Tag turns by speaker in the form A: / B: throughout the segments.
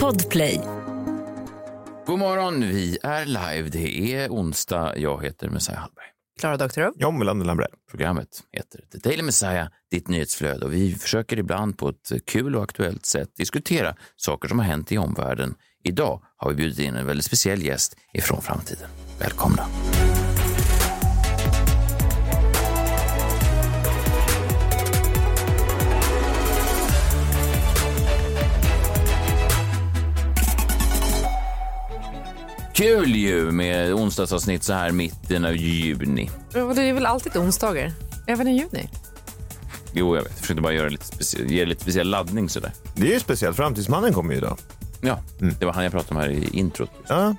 A: Podplay.
B: God morgon, vi är live. Det är onsdag. Jag heter Messiah Hallberg.
C: Klara Doktorov.
D: John Melander Lambrell.
B: Programmet heter The Daily Messiah, ditt nyhetsflöde. Och vi försöker ibland på ett kul och aktuellt sätt diskutera saker som har hänt i omvärlden. Idag har vi bjudit in en väldigt speciell gäst ifrån framtiden. Välkomna! Kul ju med onsdagsavsnitt så här mitten av juni.
C: Ja, Det är väl alltid onsdagar? Även i juni?
B: Jo, jag vet. Jag försökte bara göra lite specie- ge lite speciell laddning sådär.
D: Det är ju speciellt. Framtidsmannen kommer ju idag.
B: Ja, det var han jag pratade om här i introt.
D: Ja,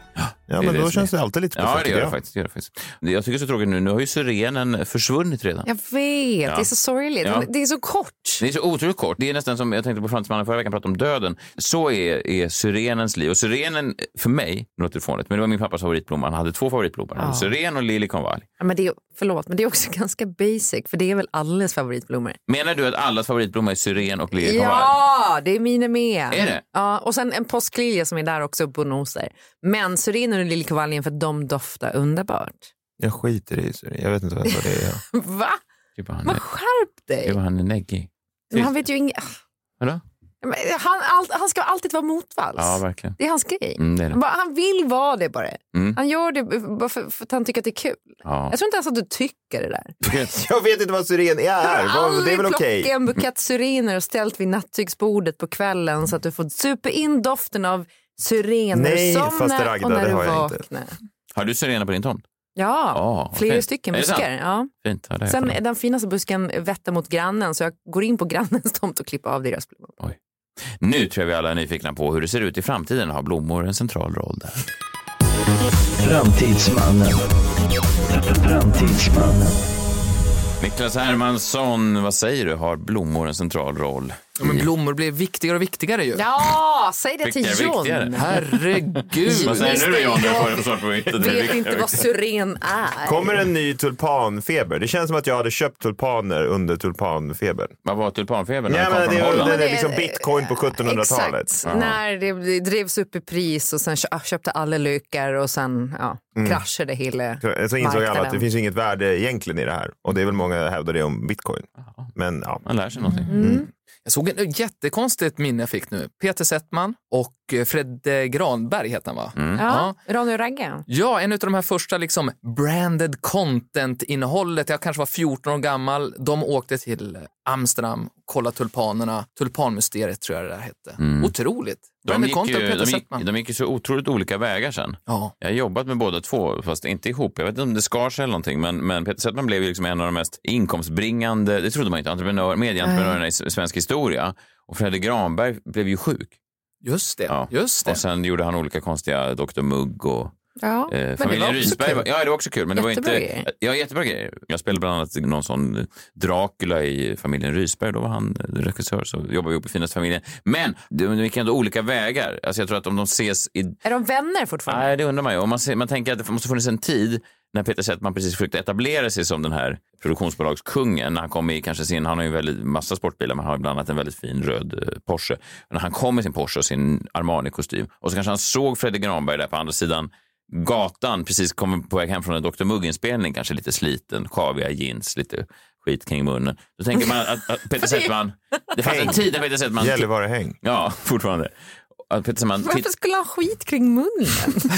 D: ja men
B: det
D: då
B: som
D: känns
B: är-
D: det alltid lite
B: Ja, det
D: tycker
B: gör det
D: jag.
B: faktiskt. Det gör det faktiskt. Det- Jag tycker det är så tråkigt nu. Nu har ju sirenen försvunnit redan.
C: Jag vet, det är så sorgligt.
B: Ja.
C: Men Det är så kort.
B: Det är så otroligt kort. Det är nästan som jag tänkte på Framtidsmannen förra veckan pratade om döden. Så är, är syrenens liv. Och syrenen, för mig, det låter fånigt, men det var min pappas favoritblomma. Han hade två favoritblommor. Han hade Syren och liljekonvalj.
C: Ja, men det är, förlåt, men det är också ganska basic, för det är väl allas favoritblommor?
B: Menar du att allas favoritblomma är syren och liljekonvalj?
C: Ja, det är mina med.
B: Är det?
C: Ja, och sen en påsklilja som är där också uppe och nosar. Men syrenen och liljekonvaljen för de doftar underbart.
D: Jag skiter i det. Jag vet inte vad det är.
C: Va?
B: Det var Typ han,
C: Men skärp
B: det
C: dig!
B: var han är neggig.
C: Men han vet ju inget.
B: Vadå?
C: Men Han, allt- han ska alltid vara motvalls.
B: Ja, verkligen.
C: det är hans grej.
B: Mm, det är
C: Han
B: det.
C: bara- Han vill vara det bara.
B: Mm.
C: Han gör det bara för, för att han tycker att det är kul.
B: Ja.
C: Jag tror inte ens att du tycker det där.
D: Jag vet inte vad syren
C: Du
D: är.
C: har
D: Vad- Det är
C: aldrig
D: väl
C: plockat
D: okej.
C: en bukett syriner och ställt vid nattduksbordet på kvällen så att du får supa in doften av syrener.
D: Nej,
C: Somna
D: faster Agda,
C: och när
D: det
C: du
D: har jag inte.
C: vaknar.
B: Har du syrener på din tomt?
C: Ja,
B: Ja,
C: flera
B: Ah, okej.
C: stycken
B: Är det sant?
C: buskar. Ja.
B: Fint. Ja, det har jag
C: Sen
B: kollat.
C: är den finaste busken vetter mot grannen så jag går in på grannens tomt och klipper av deras blommor.
B: Nu tror jag vi alla är nyfikna på hur det ser ut i framtiden. Har blommor en central roll där?
E: Framtidsmannen. Framtidsmannen.
B: Niklas Hermansson, vad säger du? Har blommor en central roll?
F: Ja, men blommor blir viktigare och viktigare ju.
C: Ja, säg det till
B: Viktigare,
C: John.
B: viktigare.
F: Herregud.
B: Vad säger du John? Jag får svar på mitt.
C: Vet inte vad syren är.
D: Kommer en ny tulpanfeber? Det känns som att jag hade köpt tulpaner under tulpanfebern.
B: Vad var tulpanfebern?
D: Nej,
B: Den kom
D: men
B: från
D: det
B: Holland.
D: är, det
C: det
D: är
C: är-
D: liksom bitcoin på 1700-talet.
C: Exakt, när det drevs upp i pris och sen kö- ah, köpte alla lyckar och sen ja,
D: Mm.
C: kraschade hela
D: Så insåg alla att det
C: marknaden.
D: finns ju inget värde egentligen i det här. Och det är väl många som hävdar det om bitcoin. Men ja.
B: Man lär sig någonting.
C: Mm.
F: Jag såg en ett jättekonstigt minne jag fick nu. Peter Settman och eh, Fred eh, Granberg heter han va?
B: Mm.
C: Ja, Ronny och Ragge.
F: Ja, en av de här första liksom branded content-innehållet. Jag kanske var 14 år gammal. De åkte till Amsterdam, kollade tulpanerna. Tulpanmysteriet tror jag det där hette. Otroligt.
B: Mm. De,
F: Branded
B: gick
F: content,
B: ju,
F: Peter
B: de, gick,
F: Settman.
B: de gick ju så otroligt olika vägar sen.
F: Ja.
B: Jag har jobbat med båda två, fast inte ihop. Jag vet inte om det skar sig eller någonting, men, men Peter Settman blev ju liksom en av de mest inkomstbringande, det trodde man inte, entreprenör, medieentreprenörerna i s- svensk historia. Och Fredrik Granberg blev ju sjuk.
F: Just det.
B: Ja.
F: Just det.
B: Och sen gjorde han olika konstiga Dr Mugg och
C: Ja,
B: Eh,
C: men det var
B: familjen
C: också
B: Risberg.
C: kul.
B: var- Ja, det var också kul. Men det var
C: Jättebra
B: inte,
C: grejer.
B: Ja, jättebra grejer. Jag spelade bland annat någon sån Dracula i familjen Risberg. Då var han eh, regissör, så jobbade vi ihop i finaste familjen. Men de de gick ändå olika vägar. Alltså, jag tror att om de ses i...
C: Är de vänner fortfarande?
B: Nej, det undrar man ju. Om man, ser, man tänker att det måste ha funnits en tid när Peter Settman precis försökte etablera sig som den här produktionsbolagskungen. När han kom i kanske sin, han har ju en väldigt massa sportbilar, men han har bland annat en väldigt fin röd eh, Porsche. När han kom i sin Porsche och sin Armani-kostym och så kanske han såg Fredrik Granberg där på andra sidan gatan, precis kom på väg hem från en Dr Mugg-inspelning, kanske lite sliten, kaviga jeans, lite skit kring munnen. Då tänker man att, att Peter Settman, det fanns en tid när Peter Settman...
D: Gällivare-häng.
B: Ja, fortfarande. Att Peter Settman...
C: Varför skulle han ha skit kring munnen?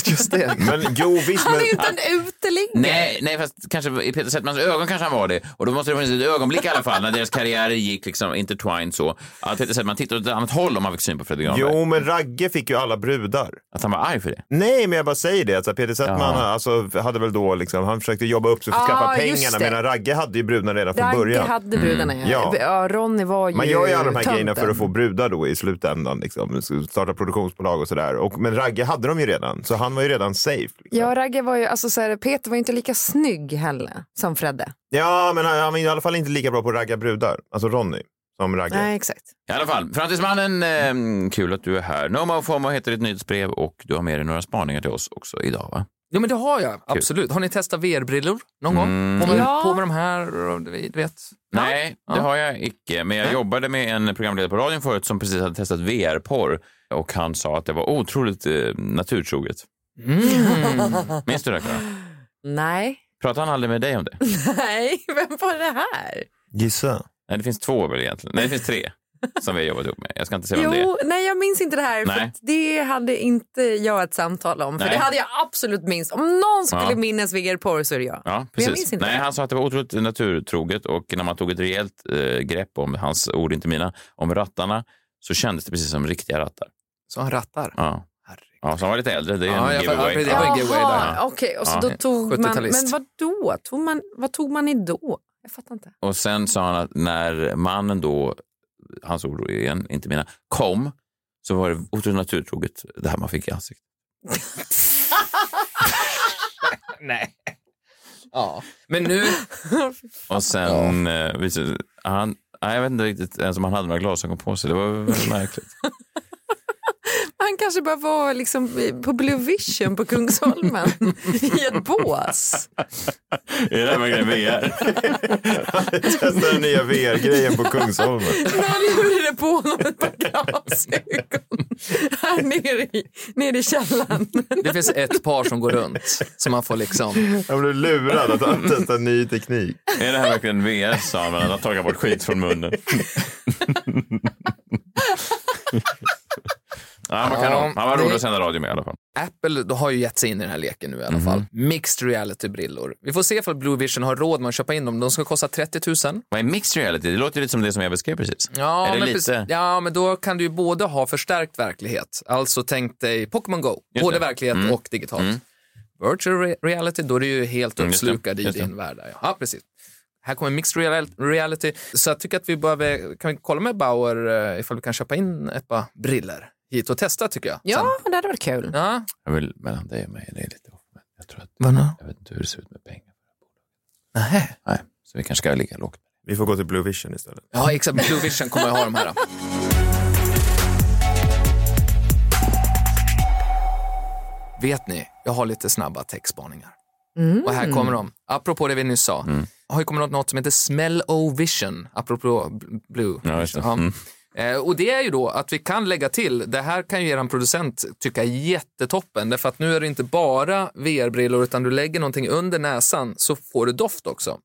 F: Just det.
D: Men jo, visst.
C: Han är ju
D: men...
C: inte en uteliggare.
B: Nej, nej, fast kanske i Peter Settmans ögon kanske han var det. Och då måste det funnits ett ögonblick i alla fall när deras karriärer gick liksom intertwined så. Att Peter Settman tittade åt ett annat håll om han fick syn på Fredrik Granberg.
D: Jo, men Ragge fick ju alla brudar.
B: Att han var arg för det.
D: Nej, men jag bara säger det. Alltså, Peter Settman
B: Ja.
D: alltså, hade väl då liksom, han försökte jobba upp sig för att
C: Ah,
D: skaffa
C: just
D: pengarna
C: det.
D: medan Ragge hade ju brudarna redan från
C: Ragge
D: början. Mm,
C: hade brudarna, ja.
D: Ja.
C: ja. Ronny var ju
D: Man gör ju alla de här grejerna för
C: tönten.
D: att få brudar då i slutändan. Liksom. Starta produktionsbolag och sådär. Och- Men Ragge hade de ju redan, så han var ju redan safe. Liksom.
C: Ja, Ragge var ju, alltså så här, Peter var ju inte lika snygg heller som Fredde.
D: Ja, men han han var i alla fall inte lika bra på att ragga brudar. Alltså Ronny, som Ragge.
C: Nej, exakt.
B: I alla fall, Framtidsmannen, ehm, eh, kul Mm. att du är här. No Mo Fomo heter ditt nyhetsbrev och du har med dig några spaningar till oss också idag va?
F: Jo men det har jag, absolut. Har ni testat VR-brillor någon gång? På med,
C: Ja.
F: på med de här, och du vet.
B: Nej, det har jag icke. Men jag jobbade med en programledare på radion förut som precis hade testat VR-porr och han sa att det var otroligt eh, naturtroget. Minns du det? Clara?
C: Nej.
B: Pratade han aldrig med dig om det?
C: Nej, vem var det här?
D: Gissa.
B: Nej, det finns två väl egentligen. Nej, det finns tre som vi har jobbat ihop med. Jag ska inte säga vem det är.
C: Jo, nej jag minns inte det här. För
B: Nej.
C: att det hade inte jag ett samtal om. För
B: Nej.
C: det hade jag absolut minst. Om någon skulle
B: Ja.
C: minnas VR-porr så är det jag.
B: Ja,
C: Men jag
B: precis.
C: minns inte
B: Nej,
C: det.
B: han sa att det var otroligt naturtroget och när man tog ett rejält eh, grepp om, hans ord inte mina, om rattarna så kändes det precis som riktiga rattar.
F: Så han rattar.
B: Ja,
F: Herregud.
B: ja så han var lite äldre. Det är
F: Ja,
B: en
F: jag-
B: giveaway.
F: ja, precis.
B: Ja.
F: Det var en giveaway där,
C: Jaha, okej. Och så
B: Ja.
C: då tog man...
F: 70-talist.
C: Men vad då? Tog man, vad tog man i då? Jag fattar inte.
B: Och sen sa han att när mannen då, hans ord igen, inte mina, kom så var det otroligt naturtroget det här man fick i ansiktet.
F: Nej. Ja. Men nu...
B: Och sen, eh, visst, han, nej, jag vet inte riktigt ens om han hade några glasögon på sig. Det var väldigt märkligt.
C: Han kanske bara var liksom på Blue Vision på Kungsholmen i ett bås.
B: är det här verkligen VR?
D: Testa den nya VR-grejen på Kungsholmen.
C: Någon gjorde det på honom ett par glasögon här nere i, nere i källaren.
F: Det finns ett par som går runt. Så man får liksom...
D: Jag blev lurad att han testar ny teknik.
B: är det här verkligen VR? sa han, men han har tagit bort skit från munnen. ja, man kan
F: Ja,
B: nog- han var
F: det-
B: rolig att sända radio med i alla fall.
F: Apple då har ju gett sig in i den här leken nu i alla fall. Mixed reality-brillor. Vi får se ifall Blue Vision har råd med att köpa in dem. De ska kosta 30 000.
B: Vad är mixed reality? Det låter lite som det som jag beskrev precis. är det
F: men
B: lite...
F: precis- ja, men då kan du ju både ha förstärkt verklighet, alltså tänk dig Pokémon Go,
B: Just
F: både
B: det. Mm.
F: verklighet och digitalt. Virtual re- reality, då är du ju helt
B: Mm, just det.
F: uppslukad
B: Just
F: i
B: det.
F: din värld. där, Ja. ja, precis. Här kommer mixed real- reality, så jag tycker att vi behöver, kan vi kolla med Bauer eh, ifall vi kan köpa in ett par briller hit och testa tycker jag. Sen.
C: Ja, det hade varit kul.
F: Ja.
B: Jag vill, mellan dig och mig, det är lite off, men jag tror att Jag vet inte hur det ser ut med pengar.
F: Nähä.
B: Nej, så vi kanske ska ligga lågt.
D: Vi får gå till Blue Vision istället.
F: Ja, exakt. Blue Vision kommer jag ha de här. då. Vet ni, jag har lite snabba techspaningar. Och här kommer de. Apropå det vi nyss sa.
B: Mm.
F: Jag har ju kommit åt något som heter Smell-O-Vision, apropå bl- Blue.
B: Ja, just det. Mm.
F: Ja. Eh, Och det är ju då att vi kan lägga till, det här kan ju er producent tycka är jättetoppen, därför att nu är det inte bara VR-brillor utan du lägger någonting under näsan så får du doft också.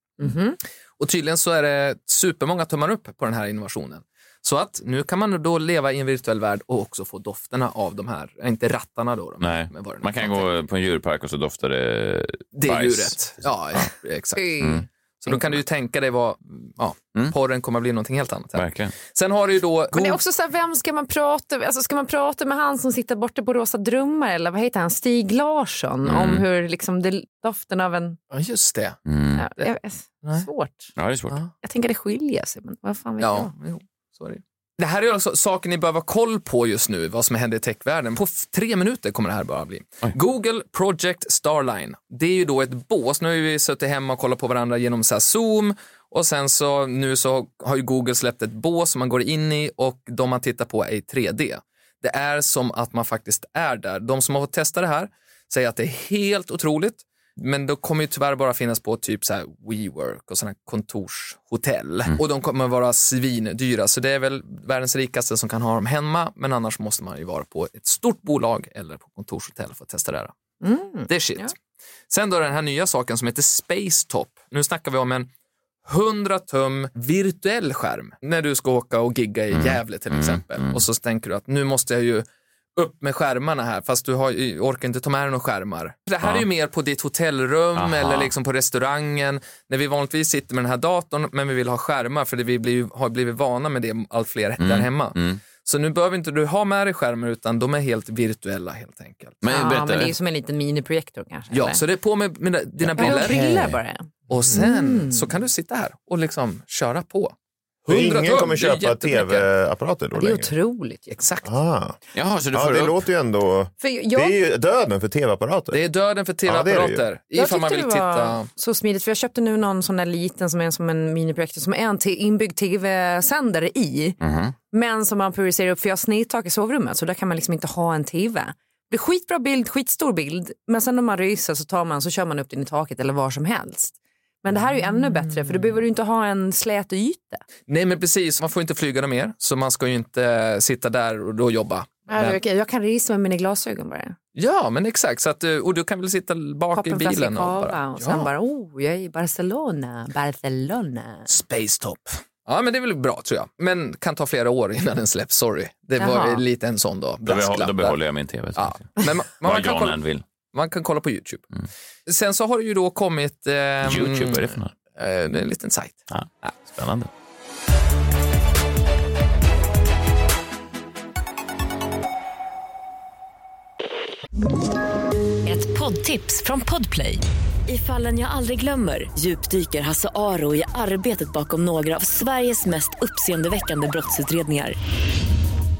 F: Och tydligen så är det supermånga tummar upp på den här innovationen. Så att nu kan man då leva i en virtuell värld och också få dofterna av de här, eh, inte rattarna då. De,
B: Nej,
F: men vad det nu
B: man kan
F: heter.
B: gå på en djurpark och så doftar det
F: Det är
B: bajs.
F: djuret. Ja, exakt.
C: Mm.
F: Så då kan du ju tänka dig vad, ja, porren kommer att bli någonting helt annat. Här.
B: Mm. Verkligen.
F: Sen har du ju då...
C: Men det är också så här, vem ska man prata med? Alltså, ska man prata med han som sitter borta på Rosa Drummar eller vad heter han, Stig Larsson? Om hur liksom, det, doften av en...
F: Ja, just det.
C: Ja, jag,
F: Nej.
B: Mm.
C: svårt.
B: Ja, det är svårt.
F: Ja.
C: Jag tänker det skiljer sig, men vad fan vet jag?
F: Ja, jo, så är det. Det här är alltså saker ni behöver ha koll på just nu, vad som händer i techvärlden. På f- tre minuter kommer det här bara bli. Google Project Starline, det är ju då ett bås. Nu har ju vi suttit hemma och kollat på varandra genom så här Zoom och sen så nu så har ju Google släppt ett bås som man går in i och de man tittar på är i 3D. Det är som att man faktiskt är där. De som har fått testa det här säger att det är helt otroligt. Men då kommer ju tyvärr bara finnas på typ så här WeWork och sådana kontorshotell. Och de kommer vara svindyra. Så det är väl världens rikaste som kan ha dem hemma. Men annars måste man ju vara på ett stort bolag eller på kontorshotell för att testa det här. Det är shit.
C: ja.
F: Sen då den här nya saken som heter Spacetop. Nu snackar vi om en 100 tum virtuell skärm. När du ska åka och gigga i Gävle till exempel. Och så tänker du att nu måste jag ju upp med skärmarna här fast du har, ju- orkar inte ta med dig några skärmar. Det här är ju mer på ditt hotellrum
B: Aha.
F: eller liksom på restaurangen när vi vanligtvis sitter med den här datorn men vi vill ha skärmar för det vi blir, har blivit vana med det allt fler där hemma. Så nu behöver inte du ha med dig skärmar utan de är helt virtuella helt enkelt.
B: Men
C: Ja,
B: berätta.
C: men det är ju som en liten miniprojektor kanske.
F: Ja,
C: eller?
F: så det är på med mina, dina
C: Ja,
F: briller
C: briller Mm. bara.
F: och sen så kan du sitta här och liksom köra på. 100
D: Ingen
F: tum,
D: kommer
F: det är
D: köpa
F: jättemycket.
D: tv-apparater då
C: Det är
D: längre.
C: otroligt. ju.
F: Exakt.
D: Ah.
B: Jaha, så du
D: Ja,
B: får
D: det
B: upp...
D: låter ju ändå...
C: För jag,
D: Det är ju döden för tv-apparater.
F: Det är döden för
D: Ja, det är det ju.
F: tv-apparater.
C: jag
F: ifall man
C: tyckte
F: vill
C: det var
F: titta.
C: så smidigt, för jag köpte nu någon sån där liten som är som en miniprojektor som är en t- inbyggd tv-sändare
F: Mhm.
C: i. Men som man prioriterar upp, för jag har snedtak i sovrummet så där kan man liksom inte ha en tv. Det är Skitbra bild, skitstor bild. Men sen när man ryser så tar man så kör man upp den i taket eller var som helst. Men det här är ju ännu bättre för då behöver du inte ha en slät yta.
F: Nej men precis, man får inte flyga dem mer så man ska ju inte eh, sitta där och då jobba. Men-
C: Jag kan resa med mina glasögon bara.
F: Ja men exakt, så att, eh, och du kan väl sitta bak
C: Poppa
F: i
C: en flaska
F: bilen och
C: cava
F: bara,
C: och sen
F: ja.
C: bara oh jag är i Barcelona, Barcelona.
F: Space Top. Ja men det är väl bra tror jag, men kan ta flera år innan den släpps, sorry. Det var
C: Jaha.
F: ju lite en sån då,
B: Då,
F: brasklapp
B: behå- då
F: där.
B: behåller jag min tv.
F: Ja.
B: Ja.
F: Men man, man,
B: Vad
F: kan
B: Jan
F: kolla,
B: än vill.
F: man kan kolla på YouTube. Sen så har det ju då kommit... ehm,
B: Mm. Youtube, vad är det för något?
F: eh, det är en liten sajt.
B: Mm. Ja. Spännande.
A: Ett poddtips från Podplay. I fallen jag aldrig glömmer djupdyker Hasse Aro i arbetet bakom några av Sveriges mest uppseendeväckande brottsutredningar.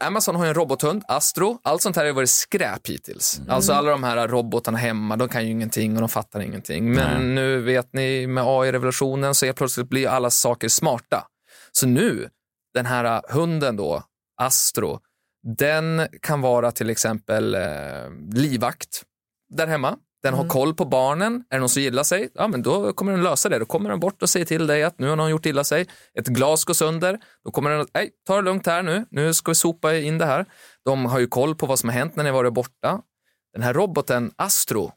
F: Amazon har ju en robothund, Astro. Allt sånt här har ju varit skräp hittills. Alltså alla de här robotarna hemma, de kan ju ingenting och de fattar ingenting. Men nu vet ni, med AI-revolutionen så är plötsligt blir alla saker smarta. Så nu, den här äh, hunden då, Astro, den kan vara till exempel eh, livvakt där hemma. Den har koll på barnen. Är det någon som gillar sig, ja, men då kommer den lösa det. Då kommer den bort och säger till dig att nu har någon gjort illa sig. Ett glas går sönder. Då kommer den att, nej, ta det lugnt här nu. Nu ska vi sopa in det här. De har ju koll på vad som har hänt när ni varit borta. Den här roboten Astro,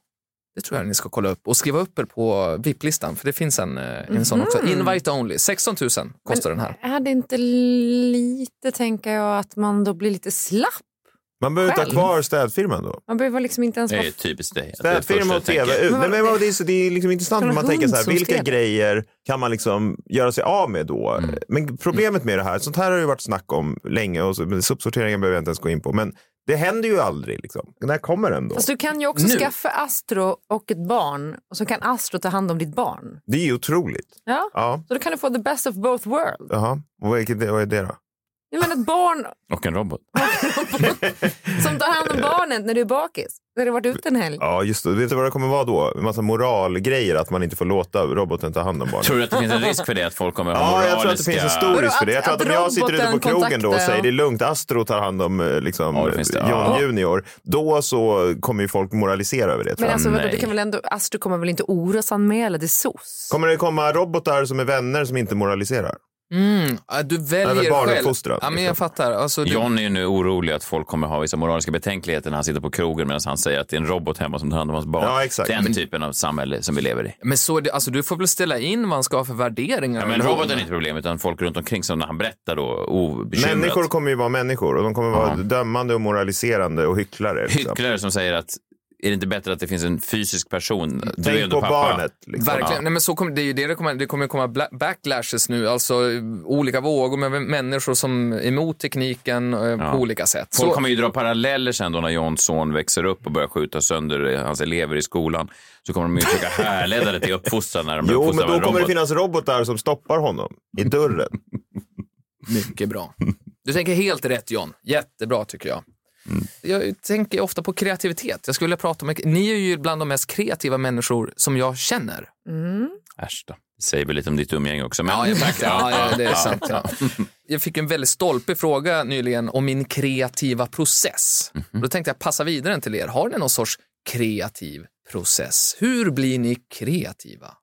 F: det tror jag ni ska kolla upp och skriva upp er på VIP-listan, för det finns en, eh, en sån också.
B: Mhm.
F: Invite only, 16 000 kostar den här.
C: Är det inte lite, tänker jag, att man då blir lite slapp?
D: Man behöver inte ha
C: Själv?
D: kvar städfirman då.
C: Man behöver liksom inte ens
B: Det
C: vara...
B: är ju typ typiskt dig. att det är det
D: Städfirma
B: första
D: och
B: jag tänker.
D: tv. ut.
C: Men
D: Nej,
C: vad-
D: men vad- det, är, så- det är liksom intressant
C: Kan
D: när
C: det
D: man
C: vara
D: tänker så här,
C: hund som
D: vilka
C: städar?
D: grejer kan man liksom göra sig av med då?
B: Mm.
D: Men problemet med det här, sånt här har ju varit snack om länge och så, men sopsorteringen behöver jag inte ens gå in på. Men det händer ju aldrig. Liksom. När kommer den då?
C: Alltså, du kan ju också
F: Nu.
C: skaffa Astro och ett barn och så kan Astro ta hand om ditt barn.
D: Det är ju otroligt.
C: Ja?
D: Ja,
C: Så då kan du få the best of both worlds.
D: jaha. Och vilket, vad är det då?
C: Jag menar ett barn
B: Och en robot.
C: som tar hand om barnet när du är bakis. När du har varit ute en helg.
D: Ja, just det. Vet du vad det kommer vara då? En massa moralgrejer att man inte får låta roboten ta hand om barnen.
B: Tror du att det finns en risk för det? Att folk kommer ha
D: Ja, jag tror att det
B: moraliska...
D: finns en stor risk för det. Jag tror att,
C: Att-
D: om jag sitter ute på
C: roboten
D: krogen då och
C: kontaktar-
D: säger det är lugnt, Astro tar hand om eh, liksom,
B: Ja, det finns det.
D: eh, John
B: Ja.
D: Junior, då så kommer ju folk moralisera över det. Tror
C: Men
D: jag.
C: alltså, vadå,
B: nej.
C: det kan väl ändå, Astro kommer väl inte orosanmäla till SOS?
D: Kommer det komma robotar som är vänner som inte moraliserar?
F: Mm, ja, du
D: Över
F: väljer
D: barnuppfostran,
F: själv. Ja, men
D: liksom.
F: jag fattar. Alltså, du,
B: John är ju nu orolig att folk kommer ha vissa moraliska betänkligheter när han sitter på krogen medan han säger att det är en robot hemma som tar hand om hans barn.
D: Ja, exakt.
B: Den typen av samhälle som vi lever i.
F: Men så, är det- alltså, du får väl ställa in vad han ska ha för värderingar.
B: Ja, men roboten är inte problem, utan folk runt omkring som när han berättar då obekymrat.
D: Människor kommer ju vara människor och de kommer vara dömande och moraliserande och hycklare. Liksom.
B: Hycklare som säger att är det inte bättre att det finns en fysisk person? Du är ju
D: Tänk
B: ändå
D: på
B: pappa.
D: barnet. Liksom.
F: Verkligen. Nej, men så kommer, det är ju det det kommer, det kommer komma bla- backlashes nu, alltså eh, olika vågor med människor som är emot tekniken eh, på olika sätt.
B: Folk
F: så,
B: kommer ju dra paralleller sen då när Johns son växer upp och börjar skjuta sönder eh, hans elever i skolan. Så kommer de ju försöka härleda det till uppfostran när de blir
D: Jo, men
B: uppfostrade av en
D: då kommer det
B: robot.
D: finnas robotar som stoppar honom i dörren.
F: Mycket bra. Du tänker helt rätt John. Jättebra tycker jag. Mm. Jag tänker ofta på kreativitet. Jag skulle vilja prata om, ni är ju bland de mest kreativa människor som jag känner.
C: Mm.
B: Äsch då. Det säger väl lite om ditt umgänge också. Men...
F: Ja, jag märkte det. Ja, ja, det är sant. Ja. Jag fick en väldigt stolpig fråga nyligen om min kreativa process. Då tänkte jag passa vidare den till er. Har ni någon sorts kreativ process? Hur blir ni kreativa?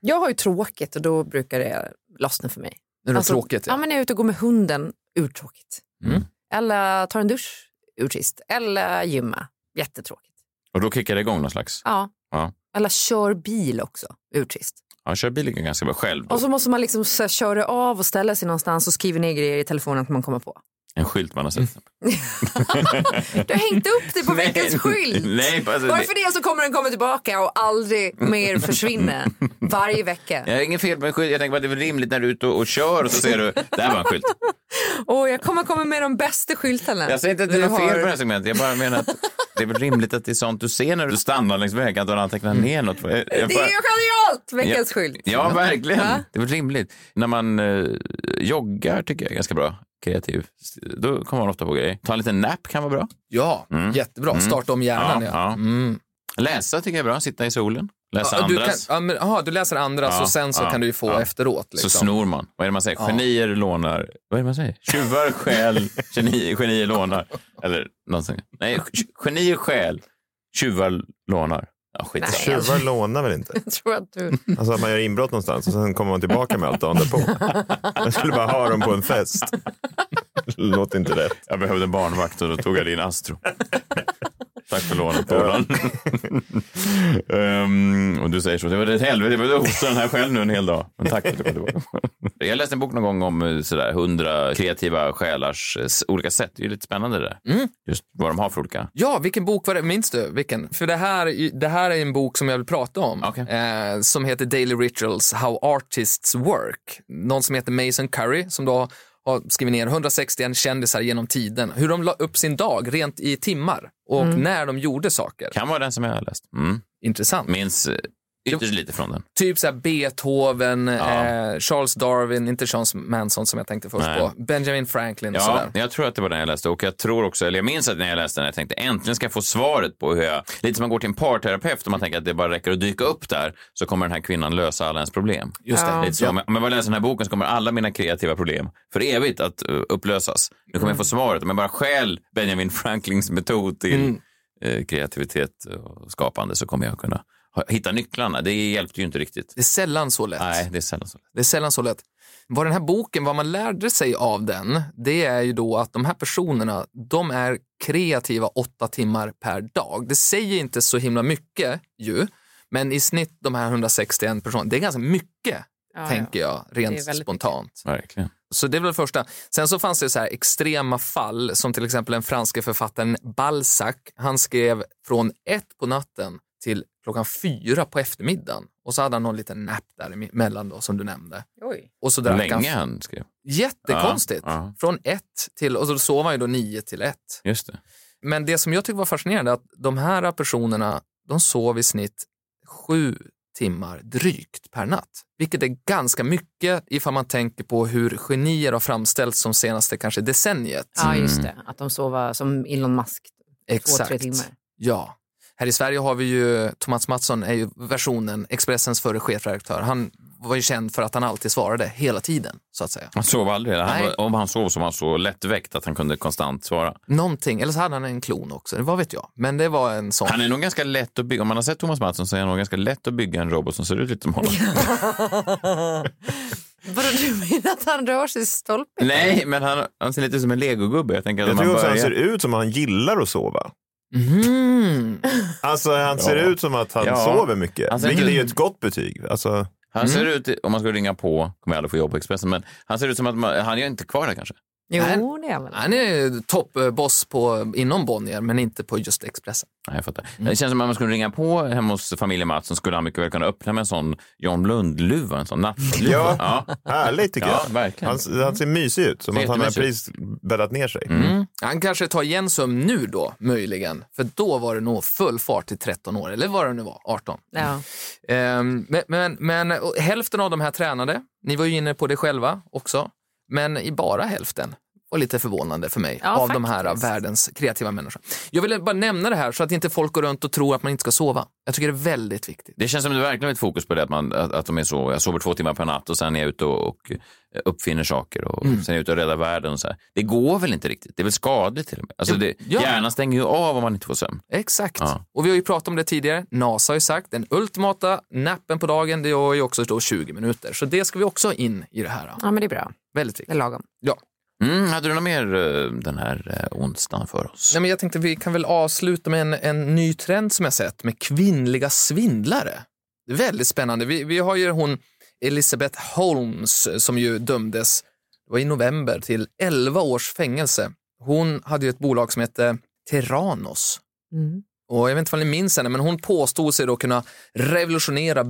C: Jag har ju tråkigt och då brukar det lossna för mig.
F: Nu är det
C: Alltså,
F: tråkigt.
C: Ja.
F: Ja.
C: men jag är ute och går med hunden, urtråkigt.
B: Mm.
C: Eller tar en dusch, urtrist. Eller gymma, jättetråkigt.
B: Och då kickar det igång någon slags.
C: Ja.
B: Ja.
C: Eller kör bil också, urtrist.
B: Han kör bilen ganska bra själv. Då.
C: Och så måste man liksom så här, köra av och ställa sig någonstans och skriva ner grejer i telefonen som man kommer på.
B: En skylt man har sett.
C: Du har hängt upp det på
B: Nej,
C: veckans skylt.
B: nej, alltså,
C: Varför det så kommer den komma tillbaka och aldrig mer försvinna varje vecka.
B: Jag har ingen fel med skylt. Jag tänker bara att det är väl rimligt när du är ute och, och kör och så ser du, där var en skylt.
C: Och jag kommer komma med de bästa skyltarna.
B: Jag säger inte att det
C: du
B: är något fel
C: har.
B: på det här segmentet. Jag bara menar att Det är väl rimligt att det är sånt du ser när du stannar längs vägen, att du antecknar ner något. Jag- jag
C: Det
B: får-
C: är ju genialt! Veckans
B: Ja.
C: skylt.
B: Ja, verkligen. Det är väl rimligt. När man eh, joggar tycker jag är ganska bra. Kreativ. Då kommer man ofta på grejer. Ta en liten nap kan vara bra.
F: Ja, jättebra. Starta om hjärnan.
B: Ja,
F: Mm. Ja,
B: ja.
F: Mm.
B: Läsa tycker jag är bra. Sitta i solen. Läsa
F: Ja, du, kan,
B: andras.
F: ja, men, aha, du läser andras
B: Ja,
F: och sen så
B: ja,
F: kan du ju få
B: ja.
F: efteråt. Liksom.
B: Så snor man. Vad är det man säger?
F: Ja.
B: Genier lånar... Vad är det man säger? Tjuvar stjäl, genier, genier lånar. Eller någonting. Nej, genier stjäl, tjuvar lånar. Ja, skit
C: Nej.
D: Tjuvar lånar väl inte?
C: Jag tror att du...
D: Alltså att man gör inbrott någonstans och sen kommer man tillbaka med allt dagen därpå. Man skulle bara ha dem på en fest. Låter inte rätt.
B: Jag behövde en barnvakt och då tog jag din Astro. Tack för lånet, Polan. Ehm, och du säger så. Det var ett helvete. Jag behövde hosta den här själv nu en hel dag. Men tack för att du var tillbaka. Jag läste en bok någon gång om eh, sådär, hundra kreativa själars eh, s- olika sätt. Det är ju lite spännande det där. Just vad de har för olika.
F: Ja, vilken bok var det? Minns du? Vilken? För det här, det här är en bok som jag vill prata om.
B: Okej.
F: Eh, som heter Daily Rituals, How Artists Work. Någon som heter Mason Curry som då har skrivit ner 161 kändisar genom tiden. Hur de la upp sin dag rent i timmar och när de gjorde saker.
B: Kan vara den som jag har läst. Mm.
F: Intressant.
B: Minns eh, ytterst lite från den.
F: Typ så här Beethoven, eh, Charles Darwin, inte Charles Manson som jag tänkte först
B: Nej.
F: på. Benjamin Franklin och
B: Ja,
F: sådär.
B: jag tror att det var den jag läste och jag tror också, eller jag minns att när jag läste den, jag tänkte äntligen ska jag få svaret på hur jag, lite som man går till en parterapeut och man tänker att det bara räcker att dyka upp där så kommer den här kvinnan lösa alla ens problem.
F: Just det.
C: Ja.
B: Lite så. Om jag- Om jag bara läser den här boken så kommer alla mina kreativa problem för evigt att eh, upplösas. Nu kommer jag
F: Mm.
B: få svaret om jag bara stjäl Benjamin Franklins metod till
F: Mm.
B: eh, kreativitet och skapande så kommer jag kunna ha- hitta nycklarna. Det hjälpte ju inte riktigt.
F: Det är sällan så lätt.
B: Nej, det är sällan så.
F: Det är sällan så lätt. Vad den här boken, vad man lärde sig av den, det är ju då att de här personerna, de är kreativa åtta timmar per dag. Det säger inte så himla mycket ju, men i snitt de här 161 personerna, det är ganska mycket,
C: Ja,
F: tänker jag,
C: Det är
F: rent
C: väldigt mycket.
F: spontant.
B: Verkligen.
F: Så det är väl det första. Sen så fanns det så här extrema fall, som till exempel den franske författaren Balzac. Han skrev från ett på natten till klockan fyra på eftermiddagen. Och så hade han någon liten nap däremellan då, som du nämnde.
C: ja. Oj.
F: Och så drack han
B: Länge han skrev.
F: Jättekonstigt.
B: Ja, ja.
F: Från ett till, och så sov han ju då nio till ett.
B: Just det.
F: Men det som jag tycker var fascinerande är att de här personerna, de sov i snitt sju timmar drygt per natt. Vilket är ganska mycket ifall man tänker på hur genier har framställts som senaste kanske decenniet.
C: Ja, just det. Att de sover som Elon Musk, två, tre timmar.
F: Ja. Här i Sverige har vi ju, Thomas Mattsson är ju versionen, Expressens före chefredaktör. Han var ju känd för att han alltid svarade hela tiden, så att säga.
B: Han sov aldrig. Han,
F: Nej.
B: var- om han sov så var han så lättväckt att han kunde konstant svara.
F: Någonting, eller så hade han en klon också, vad vet jag. Men det var en sån.
B: Han är nog ganska lätt att bygga. Om man har sett Thomas Mattsson så är han nog ganska lätt att bygga en robot som ser ut lite som honom.
C: Vadå, du menar att han rör sig i stolpen?
B: Nej, men han, han ser lite ut som en legogubbe. Jag tänker att
D: Jag
B: om man
D: tror också
B: börjar...
D: han ser ut som att han gillar att sova.
F: Mhm.
D: Alltså han ser
B: Ja.
D: ut som att han
B: Ja. Alltså,
D: sover mycket.
B: Han ser
D: vilket
B: ut-
D: är ju ett gott betyg. Alltså,
B: Han ser ut, om man skulle ringa på, kommer jag aldrig få jobb på Expressen, men han ser ut som att man, han är inte kvar där kanske.
C: Jo, det är han väl.
F: Han är toppboss på, inom Bonnier, men inte på just Expressen.
B: Nej, jag fattar. Det känns som att man skulle ringa på hemma hos familjen Mattsson skulle han mycket väl kunna öppna med en sån John Lund-luva, en sån nattluva.
D: Ja.
B: ja.
D: härligt tycker
B: Ja,
D: jag.
B: verkligen.
D: Han, han ser mysig ut. Som
B: Ser
D: att han har precis
B: jättemysig
D: bäddat ner sig.
F: Mm. Han kanske tar igen sömn nu då, möjligen. För då var det nog full fart till 13 år, eller vad det nu var, 18.
C: Ja.
F: Ehm, men men, men och hälften av de här tränade. Ni var ju inne på det själva också. Men i bara hälften var lite förvånande för mig
C: Ja,
F: av de här
C: faktiskt.
F: världens kreativa människor. Jag ville bara nämna det här så att inte folk går runt och tror att man inte ska sova. Jag tycker det är väldigt viktigt.
B: Det känns som det verkligen är ett fokus på det, att, man, att, att de är så, jag sover två timmar per natt och sen är jag ute och, och uppfinner saker och
F: Mm.
B: sen är jag ute och räddar världen. Och så här. Det går väl inte riktigt? Det är väl skadligt till och med? Alltså det,
F: Ja.
B: Hjärnan stänger ju av om man inte får sömn.
F: Exakt.
B: Ja.
F: Och vi har ju pratat om det tidigare. NASA har ju sagt den ultimata nappen på dagen, det är ju också då 20 minuter. Så det ska vi också in i det här. då.
C: ja, men det är bra.
F: Väldigt
C: Det
F: viktigt.
C: är lagom.
B: Mm, hade du något mer eh, den här eh, onsdagen för oss?
F: Nej, men jag tänkte vi kan väl avsluta med en, en ny trend som jag sett med kvinnliga svindlare. Det är väldigt spännande. Vi, vi har ju hon Elizabeth Holmes som ju dömdes det var i november till 11 års fängelse. Hon hade ju ett bolag som hette Terranos.
C: Mm.
F: Och jag vet inte om ni minns henne, men hon påstod sig då kunna revolutionera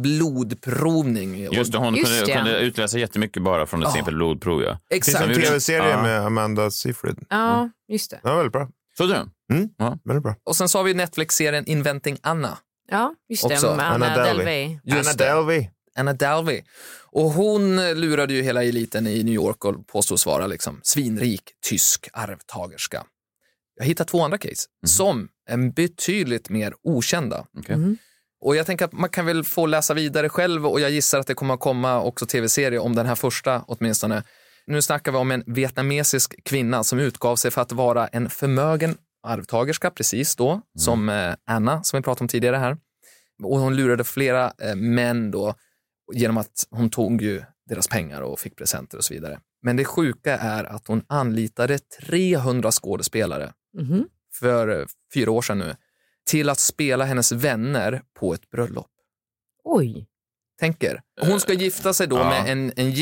F: blodprovning. Och-
B: Just det, hon
C: Just
B: kunde,
C: det.
B: kunde utläsa jättemycket bara från ett
F: Ja.
B: simpelt blodprov. Ja.
D: Finns det
F: Exakt.
D: en
B: gjorde-
D: tv-serie
B: Ja.
D: med Amanda Seyfried?
C: Ja, just det.
D: Den var väldigt bra.
B: Såg du den?
D: Men det är bra.
F: Och sen så har vi Netflix-serien Inventing Anna.
C: Ja, just det.
F: Också.
C: Med
D: Anna
C: Anna,
D: Delvey.
C: Delvey.
F: Just
D: Anna
F: det.
D: Delvey.
F: Anna Dalvey. Och hon lurade ju hela eliten i New York och påstås vara liksom svinrik tysk arvtagerska. Jag har hittat två andra case som är betydligt mer okända.
B: Okej.
C: Mm.
F: Och jag tänker att man kan väl få läsa vidare själv och jag gissar att det kommer att komma också tv-serie om den här första åtminstone. Nu snackar vi om en vietnamesisk kvinna som utgav sig för att vara en förmögen arvtagerska precis då,
C: Mm.
F: som eh, Anna som vi pratade om tidigare här. Och hon lurade flera eh, män då genom att hon tog ju deras pengar och fick presenter och så vidare. Men det sjuka är att hon anlitade 300 skådespelare
C: Mhm.
F: för eh, fyra år sedan nu till att spela hennes vänner på ett bröllop.
C: Oj.
F: Tänker. Hon ska gifta sig då
B: Ja.
F: med en, en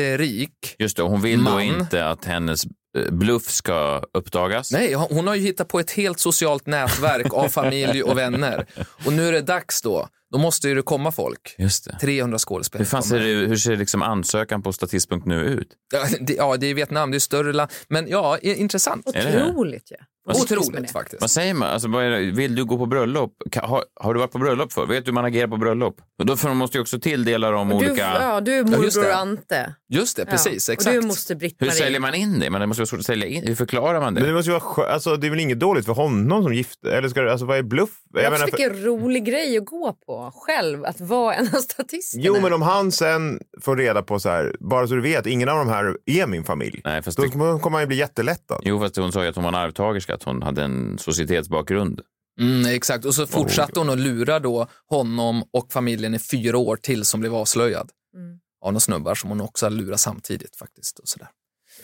F: jätterik
B: Just det, och hon vill då
F: Man.
B: inte att hennes eh, bluff ska uppdagas.
F: Nej, hon har ju hittat på ett helt socialt nätverk av familj och vänner. Och nu är det dags då. Då måste ju det komma folk.
B: Just det.
F: 300 skådespelare.
B: Hur, fan
F: kommer.
B: ser det, hur ser liksom ansökan på statist.nu ut?
F: Ja, det, ja, det är Vietnam, det är större land. Men ja, i- intressant.
B: Är det det?
C: Otroligt ju. Med det.
F: Otroligt faktiskt.
B: Vad säger man? Alltså, vad är det? Vill du gå på bröllop? Ka- Har, har du varit på bröllop för? Vet du hur man agerar på bröllop? Och då för de måste ju också tilldela dem
C: Du,
B: olika...
C: ja, du är
F: Ja, just
C: morbror
F: det.
C: Ante.
F: Just det,
C: Ja.
F: precis.
C: Och
F: Exakt.
C: du är moster
B: Hur
C: Britt-Marie.
B: säljer man in det? Men det måste vara svårt att sälja in. Hur förklarar man det?
D: Men det måste ju vara skö- alltså, det är väl inget dåligt för honom som gift? Eller ska det, alltså, vad är bluff? Jag
C: Jag
D: menar, för-
C: Vilken rolig grej att gå på själv, att vara en av statisterna.
D: Jo, men om han sen får reda på så här, bara så du vet, ingen av de här är min familj.
B: Nej, fast
D: Då
B: det...
D: kommer han ju bli jättelättad.
B: Jo, fast hon sa ju att hon var en arvtagerska, att hon hade en societetsbakgrund.
F: Mm, exakt, och så fortsatte hon att lura då honom och familjen i fyra år till som blev avslöjad.
C: Mm.
F: Av några snubbar som hon också lurat samtidigt faktiskt. Och sådär.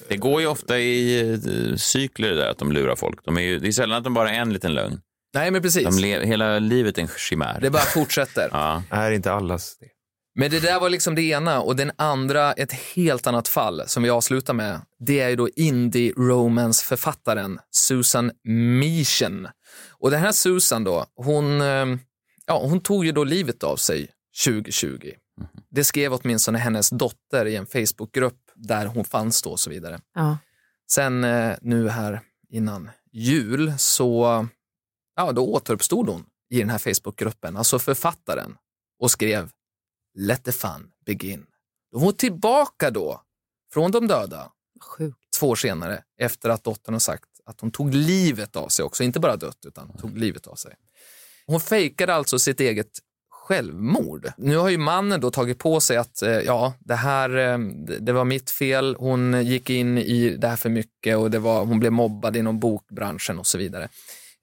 B: Det går ju ofta i eh, cykler det där att de lurar folk. De är ju, det är sällan att de bara är en liten lögn.
F: Nej, men
B: De
F: precis.
B: le, hela livet är en chimär.
F: Det bara fortsätter.
B: Ja.
D: Är inte allas det.
F: Men det där var liksom det ena och den andra, ett helt annat fall som vi avslutar med, det är ju då indie-romance-författaren Susan Mischen. Och den här Susan då, hon, eh, ja, hon tog ju då livet av sig 2020. Det skrev åtminstone hennes dotter i en Facebookgrupp där hon fanns då och så vidare.
C: Ja.
F: Sen eh, nu här innan jul så ja, då återuppstod hon i den här Facebookgruppen, alltså författaren, och skrev Let the fun begin. Då var hon tillbaka då från de döda
C: Sjukt.
F: två år senare efter att dottern har sagt att hon tog livet av sig också, inte bara dött utan tog livet av sig. Hon fejkade alltså sitt eget självmord. Nu har ju mannen då tagit på sig att eh, ja, det här eh, det- det var mitt fel, hon gick in i det här för mycket och det var, hon blev mobbad inom bokbranschen och så vidare.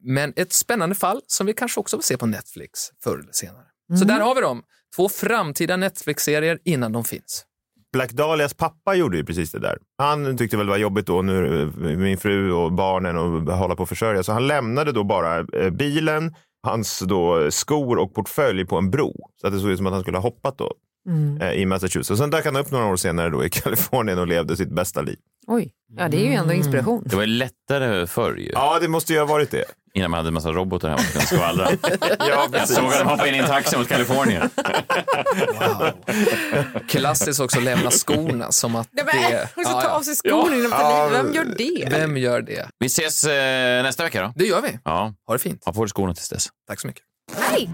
F: Men ett spännande fall som vi kanske också får se på Netflix förr eller senare. Så där har vi dem, två framtida Netflix-serier innan de finns.
D: Black Dahlias pappa gjorde ju precis det där. Han tyckte väl det var jobbigt då, nu, eh, min fru och barnen och hålla på att försörja. Så han lämnade då bara eh, bilen, hans då skor och portfölj på en bro. Så att det såg ut som att han skulle ha hoppat då
C: Mm.
D: eh, i Massachusetts. Och sen dök han upp några år senare då i Kalifornien och levde sitt bästa liv.
C: Oj. Ja, det är ju ändå inspiration.
B: Det var ju lättare förr ju.
D: Ja, det måste ju ha varit det.
B: Innan man hade en massa robotar hemma som kunde skvallra.
D: Ja,
B: Jag såg att de hoppade in i en taxi mot Kalifornien.
F: Wow. Klassiskt också lämna skorna som att
C: Nej, men,
F: det...
C: och så ta
F: Ja, ja.
C: av sig skorna innan
D: Ja.
C: ja. Vem gör det?
F: Vem gör det?
B: Vi ses eh, nästa vecka då.
F: Det gör vi.
B: Ja,
F: Ha det fint.
B: ha på dig skorna tills dess.
F: Tack så mycket.
C: Hej!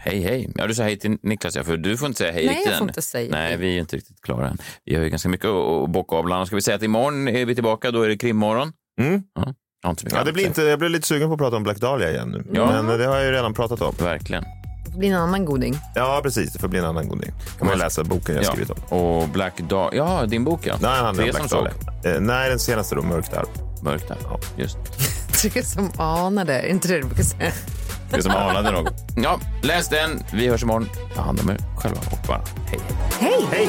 B: Hej, hej. Ja, du sa hej till Niklas, ja, för du får inte säga hej
C: Nej,
B: riktigt
C: jag får
B: än.
C: inte säga
B: Nej,
C: hej.
B: vi är inte riktigt klara än. Vi har ju ganska mycket att att bocka av bland annat. Ska vi säga att imorgon är vi tillbaka, då är det krimmorgon.
D: Mm.
B: Ja, jag har inte så mycket
D: Ja, det
B: annat
D: blir
B: att
D: inte, jag blev lite sugen på att prata om Black Dahlia igen nu.
B: Ja.
D: Men eh, det har jag ju redan pratat om.
B: säga. Verkligen.
C: Det blir en annan goding.
D: Ja, precis. Det får bli en annan goding. Kan man läsa boken jag
B: Ja.
D: skrivit om.
B: Och Black Dahlia. Ja, din bok ja.
D: Nej, han handlar
B: Tre
D: om
B: som
D: Black
B: såg.
D: Dahlia. Eh, nej, den senaste då, Mörkt arv.
B: Mörkt där. Ja, just.
C: Tre som anade. Är inte det du brukar säga?
B: Det som anade något. Ja, läs den. Vi hörs imorgon. Ta hand om er själva och varandra. Hej.